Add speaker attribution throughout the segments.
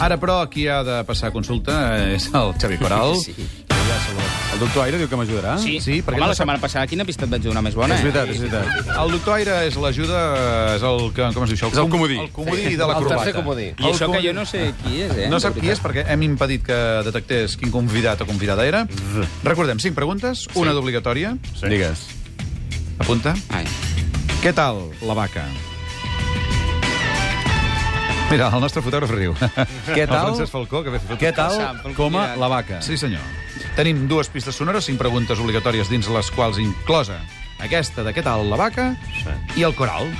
Speaker 1: Ara, però, qui ha de passar a consulta eh, és el Xavi Coral.
Speaker 2: Sí.
Speaker 3: El doctor Aire diu que m'ajudarà?
Speaker 1: Sí,
Speaker 2: Sí, sí
Speaker 1: perquè
Speaker 2: perquè Home,
Speaker 1: no
Speaker 2: la
Speaker 1: sap-
Speaker 2: setmana passada quina pista et vaig donar més bona,
Speaker 3: És
Speaker 2: eh?
Speaker 3: veritat, és veritat.
Speaker 1: El doctor Aire és l'ajuda, és el que, com es diu això?
Speaker 3: És el
Speaker 1: com-
Speaker 3: comodí.
Speaker 1: El comodí de la
Speaker 4: El
Speaker 1: corbata.
Speaker 4: tercer comodí.
Speaker 2: I això que jo no sé qui és, eh?
Speaker 1: No sap qui és perquè hem impedit que detectés quin convidat o convidada era. Recordem, cinc preguntes, una d'obligatòria.
Speaker 3: Sí. Digues.
Speaker 1: Apunta.
Speaker 2: Ai.
Speaker 1: Què tal la vaca? Mira, el nostre fotògraf riu.
Speaker 3: Què
Speaker 1: El
Speaker 3: tal?
Speaker 1: Francesc Falcó, que ve fotut.
Speaker 3: Què tal
Speaker 2: Passant pel
Speaker 3: coma
Speaker 2: convidat.
Speaker 3: la vaca?
Speaker 1: Sí, senyor. Tenim dues pistes sonores, cinc preguntes obligatòries dins les quals inclosa aquesta de què tal la vaca i el coral.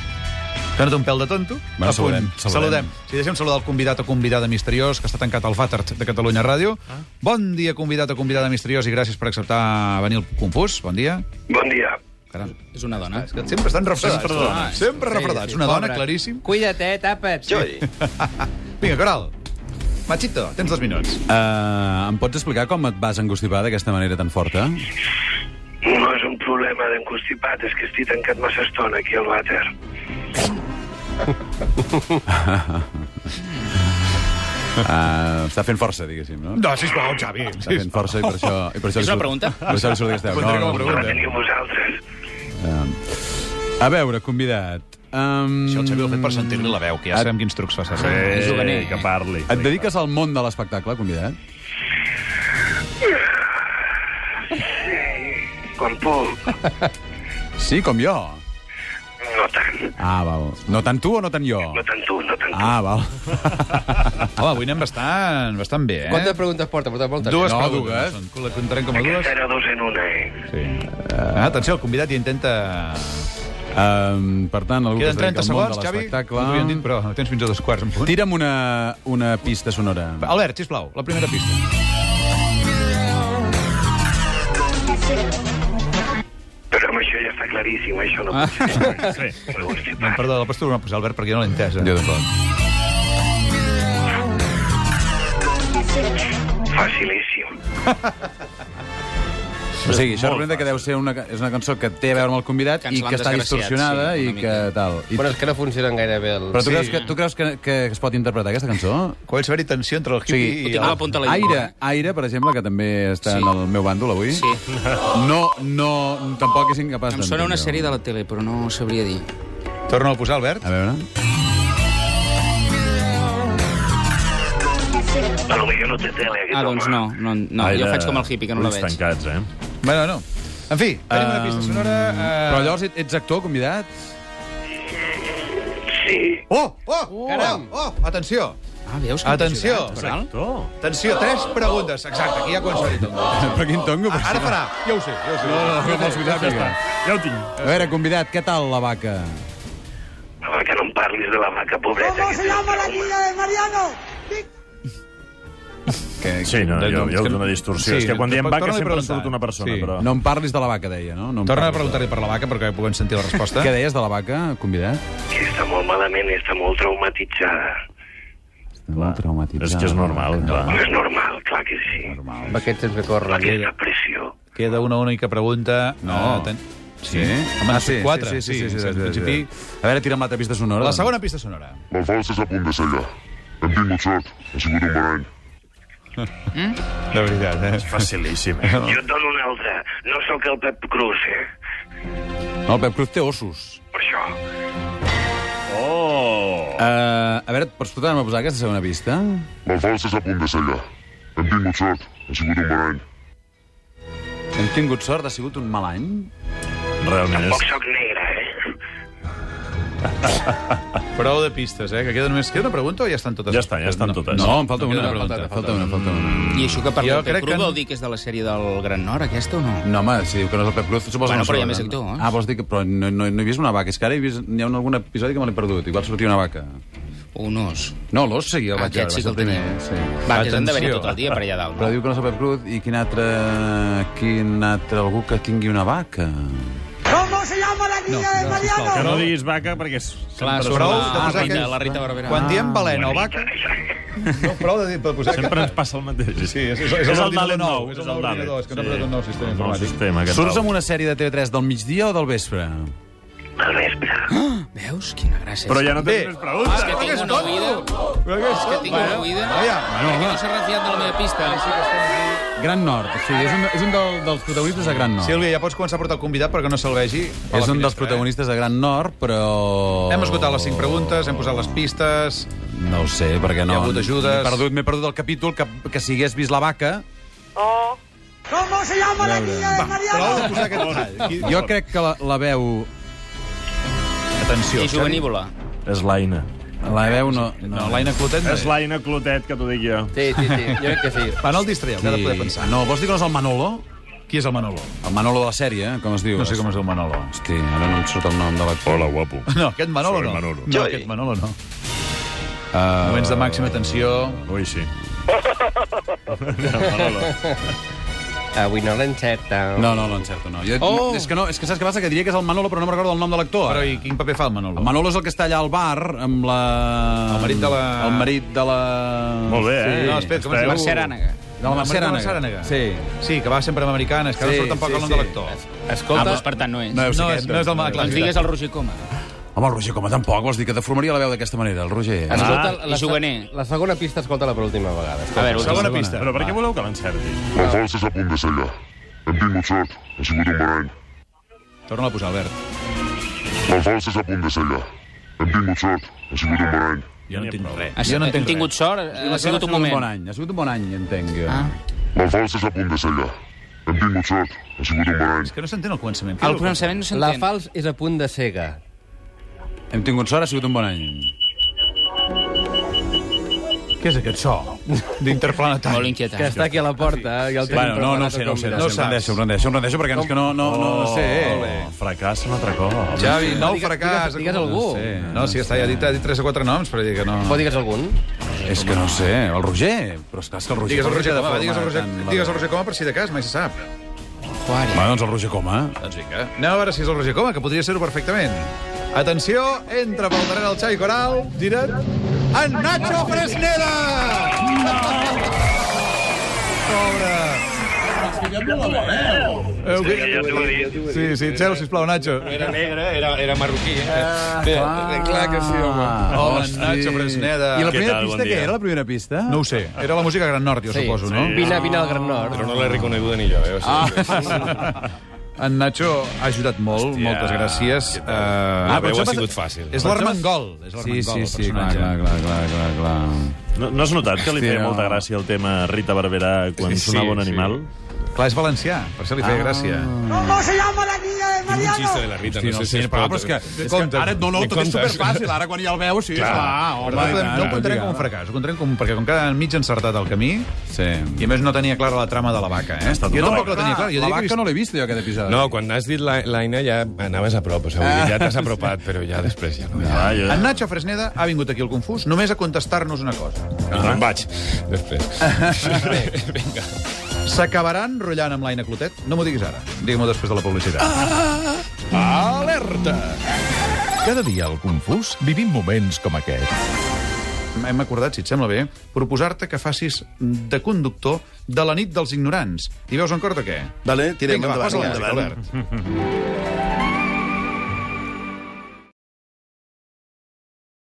Speaker 1: Que no té un pèl de tonto. A
Speaker 3: Bueno,
Speaker 1: punt.
Speaker 3: saludem, saludem.
Speaker 1: saludem. Si deixem saludar el convidat o convidada misteriós que està tancat al Vàter de Catalunya Ràdio.
Speaker 3: Ah.
Speaker 1: Bon dia, convidat o convidada misteriós, i gràcies per acceptar venir al Confús. Bon dia.
Speaker 5: Bon dia.
Speaker 1: Caram.
Speaker 2: És una dona.
Speaker 1: Que Sempre estan refredats. Sempre,
Speaker 2: dones.
Speaker 1: Sempre refredats. Una dona, claríssim.
Speaker 4: Cuida't, eh, tapa't. Jo,
Speaker 1: Vinga, coral. Machito, tens dos minuts.
Speaker 3: Uh, em pots explicar com et vas engostipar d'aquesta manera tan forta? Eh,
Speaker 5: No és un problema d'encostipat, és que estic tancat massa estona aquí al vàter.
Speaker 3: Uh, està fent força, diguéssim, no?
Speaker 1: No, sisplau, Xavi.
Speaker 3: Està fent força i per això... I per això
Speaker 2: És
Speaker 3: li
Speaker 2: una
Speaker 3: surt-
Speaker 2: pregunta?
Speaker 3: Per això li surt aquesta veu.
Speaker 1: Pondré com a
Speaker 5: La
Speaker 1: pregunta.
Speaker 5: teniu vosaltres.
Speaker 3: A veure, convidat... Um,
Speaker 1: Això el Xavi l'ha fet per sentir-li la veu, que ja sabem quins trucs fa servir.
Speaker 2: És juganer.
Speaker 6: que
Speaker 1: eh?
Speaker 6: parli.
Speaker 3: Et dediques al món de l'espectacle, convidat?
Speaker 5: Quan puc.
Speaker 3: Sí, com jo.
Speaker 5: No tant.
Speaker 3: Ah, val. No tant tu o no tant jo?
Speaker 5: No tant tu, no tant tu.
Speaker 3: Ah, val.
Speaker 1: Home, avui anem bastant, bastant bé, eh?
Speaker 4: Quantes preguntes porta? Porta moltes.
Speaker 1: Dues
Speaker 3: No,
Speaker 1: preguntes.
Speaker 3: dues.
Speaker 1: Són- La comptarem com a Ah, dues?
Speaker 5: Aquesta era dos en una, eh?
Speaker 1: Sí. Ah, atenció, el convidat ja intenta...
Speaker 3: Um, per tant, algú
Speaker 1: Queden
Speaker 3: que es
Speaker 1: 30
Speaker 3: dedica al món
Speaker 1: segons,
Speaker 3: de
Speaker 1: Xavi. No
Speaker 3: l'espectacle...
Speaker 1: t'ho havien dit, però tens fins a dos quarts en punt.
Speaker 3: Tira'm una, una pista sonora.
Speaker 1: Albert, sisplau, la primera pista.
Speaker 5: Però amb això ja està claríssim, això no pot ser. Sí.
Speaker 1: No,
Speaker 5: Encostipat.
Speaker 1: perdó, la pots tornar a posar, Albert, perquè jo no l'he eh? entesa.
Speaker 3: Jo tampoc.
Speaker 5: Facilíssim.
Speaker 3: O sigui, això
Speaker 6: Molt
Speaker 3: representa que deu ser una, ca- és una cançó que té a veure amb el convidat
Speaker 2: Que ens
Speaker 3: i
Speaker 2: l'han
Speaker 3: que està
Speaker 2: desgraciat,
Speaker 3: distorsionada
Speaker 2: sí,
Speaker 3: i
Speaker 2: una
Speaker 3: que
Speaker 2: mica.
Speaker 3: tal. I,
Speaker 4: Però és que no funcionen gaire bé. El...
Speaker 3: però tu creus, que, tu creus que, que es pot interpretar aquesta cançó?
Speaker 1: Comença a haver-hi tensió entre el
Speaker 3: O
Speaker 1: hippie
Speaker 3: sigui,
Speaker 1: i...
Speaker 2: tinc a la
Speaker 1: el-
Speaker 2: punta de la llengua.
Speaker 3: Aire, Aire, per exemple, que també està
Speaker 2: eh? Sí.
Speaker 3: en el meu bàndol avui,
Speaker 2: Sí.
Speaker 3: no, no, tampoc és incapaç
Speaker 2: Em
Speaker 3: d'entendre.
Speaker 2: sona una sèrie de la tele, però no sabria dir.
Speaker 1: Torna a posar, Albert.
Speaker 3: A
Speaker 2: Eh.
Speaker 3: veure...
Speaker 5: A lo millor no té tele, aquest
Speaker 2: Ah, doncs
Speaker 5: home.
Speaker 2: no, no, no. jo faig com el hippie, que no la
Speaker 6: ulls
Speaker 2: veig.
Speaker 6: tancats, eh?
Speaker 1: Bueno, no. En fi, tenim una pista
Speaker 3: Ehm,
Speaker 1: sonora... eh,
Speaker 3: Però llavors et- ets actor, convidat?
Speaker 5: Sí.
Speaker 1: Oh, oh, oh, oh, atenció.
Speaker 2: Ah, veus que em
Speaker 1: Atenció.
Speaker 2: vaig ajudar, Coral?
Speaker 6: Oh.
Speaker 1: Atenció, tres preguntes. Exacte, aquí ja coincidit.
Speaker 3: Però quin tongo, per
Speaker 1: Ara farà. Ja ho sé, ja ho sé.
Speaker 3: No, no, no, vols que ho sàpiga.
Speaker 6: Ja ho tinc.
Speaker 3: eh. A veure, convidat, què tal la vaca?
Speaker 5: Home, que no em parlis de la vaca pobreta.
Speaker 7: ¿Cómo
Speaker 5: que
Speaker 7: se
Speaker 5: té un
Speaker 7: llama la
Speaker 5: trauma.
Speaker 7: niña de Mariano?
Speaker 1: Que,
Speaker 6: Sí, no,
Speaker 1: de-
Speaker 6: jo,
Speaker 1: doncs
Speaker 6: jo
Speaker 1: que-
Speaker 6: una distorsió. Sí, és que quan diem
Speaker 1: tampoc-
Speaker 6: vaca
Speaker 1: torna-li a
Speaker 6: sempre en
Speaker 1: preguntar.
Speaker 6: surt una persona,
Speaker 1: Sí.
Speaker 6: sí. però...
Speaker 3: No em parlis de la vaca, deia, no? no em
Speaker 1: Torna a
Speaker 3: parlis de-
Speaker 1: preguntar-li per la vaca perquè puguem sentir la resposta.
Speaker 3: Què deies de la vaca, convidat?
Speaker 5: Que està molt malament, està molt traumatitzada.
Speaker 3: Estava traumatitzat.
Speaker 6: És que és normal, clar.
Speaker 5: No és normal, clar que sí.
Speaker 4: Amb aquest temps de córrer.
Speaker 5: Aquesta pressió.
Speaker 1: Queda una única pregunta.
Speaker 3: No.
Speaker 1: Eh, ten-
Speaker 3: Sí?
Speaker 1: Home,
Speaker 3: ah, sí,
Speaker 1: quatre.
Speaker 3: Sí, sí, sí. sí, sí,
Speaker 1: en
Speaker 3: sí, sí,
Speaker 1: principi.
Speaker 3: sí. A veure, tira'm l'altra pista sonora.
Speaker 1: La
Speaker 3: doncs.
Speaker 1: segona pista sonora.
Speaker 8: La falsa és a punt de cegar. Hem tingut sort. Ha sigut un bon any.
Speaker 1: De veritat, eh?
Speaker 6: Facilíssim, eh?
Speaker 5: Jo et dono una altra. No sóc el Pep Cruz, eh?
Speaker 3: No, el Pep Cruz té ossos.
Speaker 5: Per això.
Speaker 6: Oh!
Speaker 3: Uh, a veure, pots tornar-me a posar aquesta segona pista?
Speaker 8: La falsa és a punt de cegar. Hem tingut sort. Ha sigut un bon any.
Speaker 3: Hem tingut sort, ha sigut un mal any.
Speaker 6: Realment
Speaker 5: Poc
Speaker 6: és...
Speaker 5: sóc negre, eh?
Speaker 1: Prou de pistes, eh? Que queda només... Queda una pregunta o ja estan totes?
Speaker 6: Ja està, ja estan totes.
Speaker 3: No, em falta
Speaker 1: no queda
Speaker 3: una.
Speaker 1: una
Speaker 3: Falta,
Speaker 1: pregunta,
Speaker 3: falta una, falta una.
Speaker 2: I això que
Speaker 1: Jo
Speaker 2: parla del
Speaker 1: crec
Speaker 2: Pep Cruz
Speaker 1: que-
Speaker 2: vol dir que és de la sèrie del Gran Nord, aquesta o no?
Speaker 3: No, home, si diu que no és el Pep Cruz, suposo
Speaker 2: Bueno,
Speaker 3: que no
Speaker 2: però hi ha
Speaker 3: surt,
Speaker 2: més
Speaker 3: eh?
Speaker 2: actor, eh?
Speaker 3: Ah, vols dir que... Però no, no, no he vist una vaca. És que ara he vist... N'hi ha un, algun episodi que me l'he perdut. Igual sortia una vaca.
Speaker 1: Ah,
Speaker 2: O un os?
Speaker 3: No, l'os seguia, el
Speaker 2: Ah,
Speaker 3: vaig veure.
Speaker 2: aquest sí
Speaker 3: va ser
Speaker 2: que el
Speaker 3: primer, Sí.
Speaker 2: Va, que s'han d'haver-hi
Speaker 1: Atenció.
Speaker 2: tot el dia per allà dalt,
Speaker 3: Però
Speaker 2: no?
Speaker 3: diu que no és el Pep Cruz i quin altre... Quin altre... Algú que tingui una vaca.
Speaker 7: ¿Cómo se llama la niña de Mariano?
Speaker 6: Que no diguis vaca perquè... és-
Speaker 2: Clar,
Speaker 6: sempre,
Speaker 2: sobre
Speaker 1: prou de
Speaker 2: la, la,
Speaker 1: posar
Speaker 2: Rita,
Speaker 1: aquests-
Speaker 2: la Rita Barberà.
Speaker 1: Quan diem balena o vaca...
Speaker 5: Vaca.
Speaker 1: No, prou de dir per posar...
Speaker 6: sempre ens passa el mateix.
Speaker 1: Sí, és, és, és,
Speaker 6: és el
Speaker 1: l'ordinador
Speaker 6: Dalet nou.
Speaker 1: És el ordinador, és que no ha
Speaker 6: sí.
Speaker 1: posat un nou sistema
Speaker 6: Un nou
Speaker 1: informàtic.
Speaker 6: sistema, aquest
Speaker 3: Surts
Speaker 6: nou.
Speaker 3: amb una sèrie de TV3 del migdia o del vespre?
Speaker 5: Al vespre.
Speaker 2: Ah, Veus? Quina gràcia.
Speaker 6: Però ja no
Speaker 1: Bé.
Speaker 6: tens més preguntes.
Speaker 2: És Ah, que tinc una oïda.
Speaker 1: Però que és
Speaker 2: És que tinc una oïda.
Speaker 1: Vaja,
Speaker 3: Bueno,
Speaker 2: Que
Speaker 3: home,
Speaker 2: no s'ha refiat de la meva pista.
Speaker 3: Gran Nord. Sí, és un, és un del, dels protagonistes de Gran Nord.
Speaker 1: Sílvia, ja pots començar a portar el convidat perquè no se'l vegi. a la
Speaker 3: És un
Speaker 1: finestra,
Speaker 3: dels protagonistes de Gran Nord, però...
Speaker 1: Eh? Hem esgotat les 5 preguntes, hem posat les pistes...
Speaker 3: No ho sé, perquè no...
Speaker 1: Hi ha hagut ajudes.
Speaker 3: M'he perdut, m'he perdut el capítol que, que si hagués vist la vaca...
Speaker 7: ¿Cómo se llama la niña de
Speaker 1: Prou de
Speaker 7: Mariano?
Speaker 1: posar aquest detall.
Speaker 3: Jo crec que la, la veu...
Speaker 1: Atenció.
Speaker 2: I juvenívola.
Speaker 6: És l'Aina.
Speaker 3: La veu no...
Speaker 1: No, l'Aina Clotet... no
Speaker 6: És l'Aina Clotet, que t'ho dic jo.
Speaker 4: Sí, sí, sí, jo crec que sí.
Speaker 1: Va, Ah, no el distraieu, que ha de poder pensar.
Speaker 3: No, vols dir que no és el Manolo?
Speaker 1: Qui és el Manolo?
Speaker 3: El Manolo de la sèrie, eh? com es diu?
Speaker 1: No sé com es diu Manolo.
Speaker 3: Hosti, ara no em surt el nom de l'actor.
Speaker 9: Hola, guapo.
Speaker 1: No, aquest Manolo
Speaker 9: Soy
Speaker 1: no.
Speaker 9: Manolo.
Speaker 1: No, aquest Manolo no. Uh... Moments de màxima tensió.
Speaker 3: Ah.
Speaker 6: Ui, sí. Manolo.
Speaker 4: Avui no l'encerta.
Speaker 3: No, no, l'encerto, no. Jo,
Speaker 1: Oh!
Speaker 3: És que no. És que saps què passa? Que diria que és el Manolo, però no me'n recordo el nom de l'actor.
Speaker 1: Però i quin paper fa el Manolo?
Speaker 3: El Manolo és el que està allà al bar amb la...
Speaker 1: El marit de la...
Speaker 3: El marit de la...
Speaker 6: Molt bé, eh?
Speaker 1: No, espera, com es
Speaker 6: Esteu-
Speaker 1: diu?
Speaker 2: Mercè Arànega.
Speaker 3: De la Mercè
Speaker 1: Mercè Arànega.
Speaker 3: Arànega. Sí.
Speaker 1: Sí, que va sempre amb americanes, que ara no surt tampoc el nom de l'actor.
Speaker 2: Escolta... Ah, doncs per tant no és.
Speaker 1: No, és, no és el Manolo.
Speaker 2: Doncs digues el Roger Coma.
Speaker 3: Home, el Roger, com tampoc, vols dir que deformaria la veu d'aquesta manera, el Roger.
Speaker 4: Ah, escolta,
Speaker 2: i juganer.
Speaker 4: La segona pista, escolta-la per última vegada.
Speaker 2: A veure,
Speaker 1: Segona
Speaker 2: última.
Speaker 1: pista.
Speaker 6: Però per què voleu que l'encerti?
Speaker 8: La falsa és a punt de sellar. Hem tingut sort, ha sigut un barany.
Speaker 1: Torna a posar, Albert.
Speaker 8: La falsa és a punt de sellar. Hem tingut sort, ha sigut un barany.
Speaker 1: Jo no entenc res.
Speaker 2: Ha,
Speaker 1: Jo no
Speaker 2: hem
Speaker 1: entenc
Speaker 2: Ah, tingut
Speaker 1: res.
Speaker 2: sort, ha sigut un
Speaker 3: Ha sigut un bon
Speaker 2: moment.
Speaker 3: any, ha sigut un bon any, entenc. jo.
Speaker 2: Ah.
Speaker 8: La falsa és a punt de sellar. Hem tingut sort, ha sigut un barany.
Speaker 1: És que no s'entén el començament.
Speaker 2: El començament no
Speaker 4: La
Speaker 2: s'entén.
Speaker 4: fals és a punt de cega.
Speaker 3: Hem tingut sort, ha sigut un bon any.
Speaker 1: Què és aquest so? D'interplanetari.
Speaker 2: Molt inquietant.
Speaker 4: Que està aquí a la porta. I el tenim
Speaker 3: Bueno, no, no ho
Speaker 4: preparat
Speaker 3: sé, no ho sé.
Speaker 4: com
Speaker 3: No ho
Speaker 1: saps.
Speaker 3: sé, em rendeixo, em rendeixo, em rendeixo, perquè no, és que no, no, no, no sé. eh.
Speaker 6: Oh, fracàs un altre cop.
Speaker 1: Xavi, nou
Speaker 4: Digues-
Speaker 1: fracàs.
Speaker 4: digues- digues algú.
Speaker 1: No, sé. no sí, està, ja ha dit, ha dit 3 o 4 noms, però dic que no...
Speaker 4: Pot digues algun?
Speaker 3: És que no sé, el Roger. Però és clar, és que el Roger...
Speaker 1: Digues el Roger
Speaker 3: de
Speaker 1: Coma, va,
Speaker 3: forma
Speaker 1: digues el Roger,
Speaker 3: tan-
Speaker 1: digues el Roger Coma per si de cas, mai se sap.
Speaker 3: Va, doncs el Roger Coma.
Speaker 1: Doncs vinga. Anem a veure si és el Roger Coma, que podria ser-ho perfectament. Atenció, entra pel darrere el Xavi Coral, gira't, en Nacho Fresneda! No! Pobre! Eh,
Speaker 9: Sí, ja t'ho he dit.
Speaker 1: Sí, sí, Txelo, sisplau, Nacho.
Speaker 2: Era negre, era, era marroquí.
Speaker 1: Eh,
Speaker 3: Ah, clar que sí, home.
Speaker 1: Hola, Nacho Fresneda.
Speaker 3: I la
Speaker 9: Què
Speaker 3: primera
Speaker 9: tal?
Speaker 3: pista,
Speaker 9: Bon
Speaker 3: Ah, què
Speaker 9: dia.
Speaker 3: era, la primera pista?
Speaker 1: No ho sé, era la música Gran Nord, jo
Speaker 4: Sí.
Speaker 1: suposo, no?
Speaker 4: Vine, vine al Gran Nord.
Speaker 9: No l'he reconeguda ni jo, eh? O sigui,
Speaker 1: En Nacho ha ajudat molt,
Speaker 9: Hòstia,
Speaker 1: moltes gràcies.
Speaker 9: què
Speaker 1: Uh,
Speaker 9: tal? La veu
Speaker 3: això
Speaker 9: ha
Speaker 3: passa-
Speaker 9: sigut fàcil.
Speaker 1: és l'Armengol, és
Speaker 3: Sí,
Speaker 1: l'Armengol,
Speaker 3: sí,
Speaker 1: el
Speaker 3: sí, clar,
Speaker 1: personatge.
Speaker 3: clar, clar, clar, clar, clar.
Speaker 6: No, no has notat que li
Speaker 3: Hòstia,
Speaker 6: feia
Speaker 3: no.
Speaker 6: molta gràcia el tema Rita Barberà quan
Speaker 9: Sí,
Speaker 6: sonava un
Speaker 9: sí.
Speaker 6: animal?
Speaker 1: Clar, és valencià, per això li
Speaker 3: Ah.
Speaker 1: feia gràcia.
Speaker 7: ¿Cómo se llama la niña de
Speaker 9: un
Speaker 7: Mariano?
Speaker 9: xiste de la Rita, no,
Speaker 3: Hosti,
Speaker 9: sé si es
Speaker 3: però,
Speaker 9: pot.
Speaker 3: però és que, és que
Speaker 1: Compte.
Speaker 3: ara, no, no,
Speaker 9: Me
Speaker 3: tot és
Speaker 9: comptes.
Speaker 3: superfàcil, ara quan ja el veus, sí, clar.
Speaker 1: Però
Speaker 9: Ah,
Speaker 3: home,
Speaker 1: no,
Speaker 3: i
Speaker 1: podem,
Speaker 3: tant,
Speaker 1: no ho contarem
Speaker 3: digue.
Speaker 1: com un fracàs, ho contarem com, perquè com cada mig encertat el camí,
Speaker 3: Sí.
Speaker 1: i a més no tenia clara la trama de la vaca, eh?
Speaker 6: estat
Speaker 1: Jo
Speaker 6: una
Speaker 1: tampoc la
Speaker 6: vaca.
Speaker 1: tenia clara, jo
Speaker 3: La
Speaker 1: diria que
Speaker 3: vaca no l'he vist, jo, aquest episodi.
Speaker 9: No, quan has dit la- l'Aina ja anaves a prop, o sigui, ja t'has apropat, però ja després ja no. Ja.
Speaker 6: Ah, jo...
Speaker 1: En Nacho Fresneda ha vingut aquí al Confús només a contestar-nos una cosa.
Speaker 9: Em vaig, després. Vinga.
Speaker 1: S'acabaran rotllant amb l'Aina Clotet? No m'ho diguis ara. Digue-m'ho després de la publicitat.
Speaker 9: Ah.
Speaker 10: Alerta! Cada dia al Confús vivim moments com aquest.
Speaker 1: Hem acordat, si et sembla bé, proposar-te que facis de conductor de la nit dels ignorants. I veus en corda què?
Speaker 11: Vale, tirem
Speaker 1: Vinga, va,
Speaker 11: endavant.
Speaker 1: posa-la,
Speaker 11: Vinga,
Speaker 1: Albert.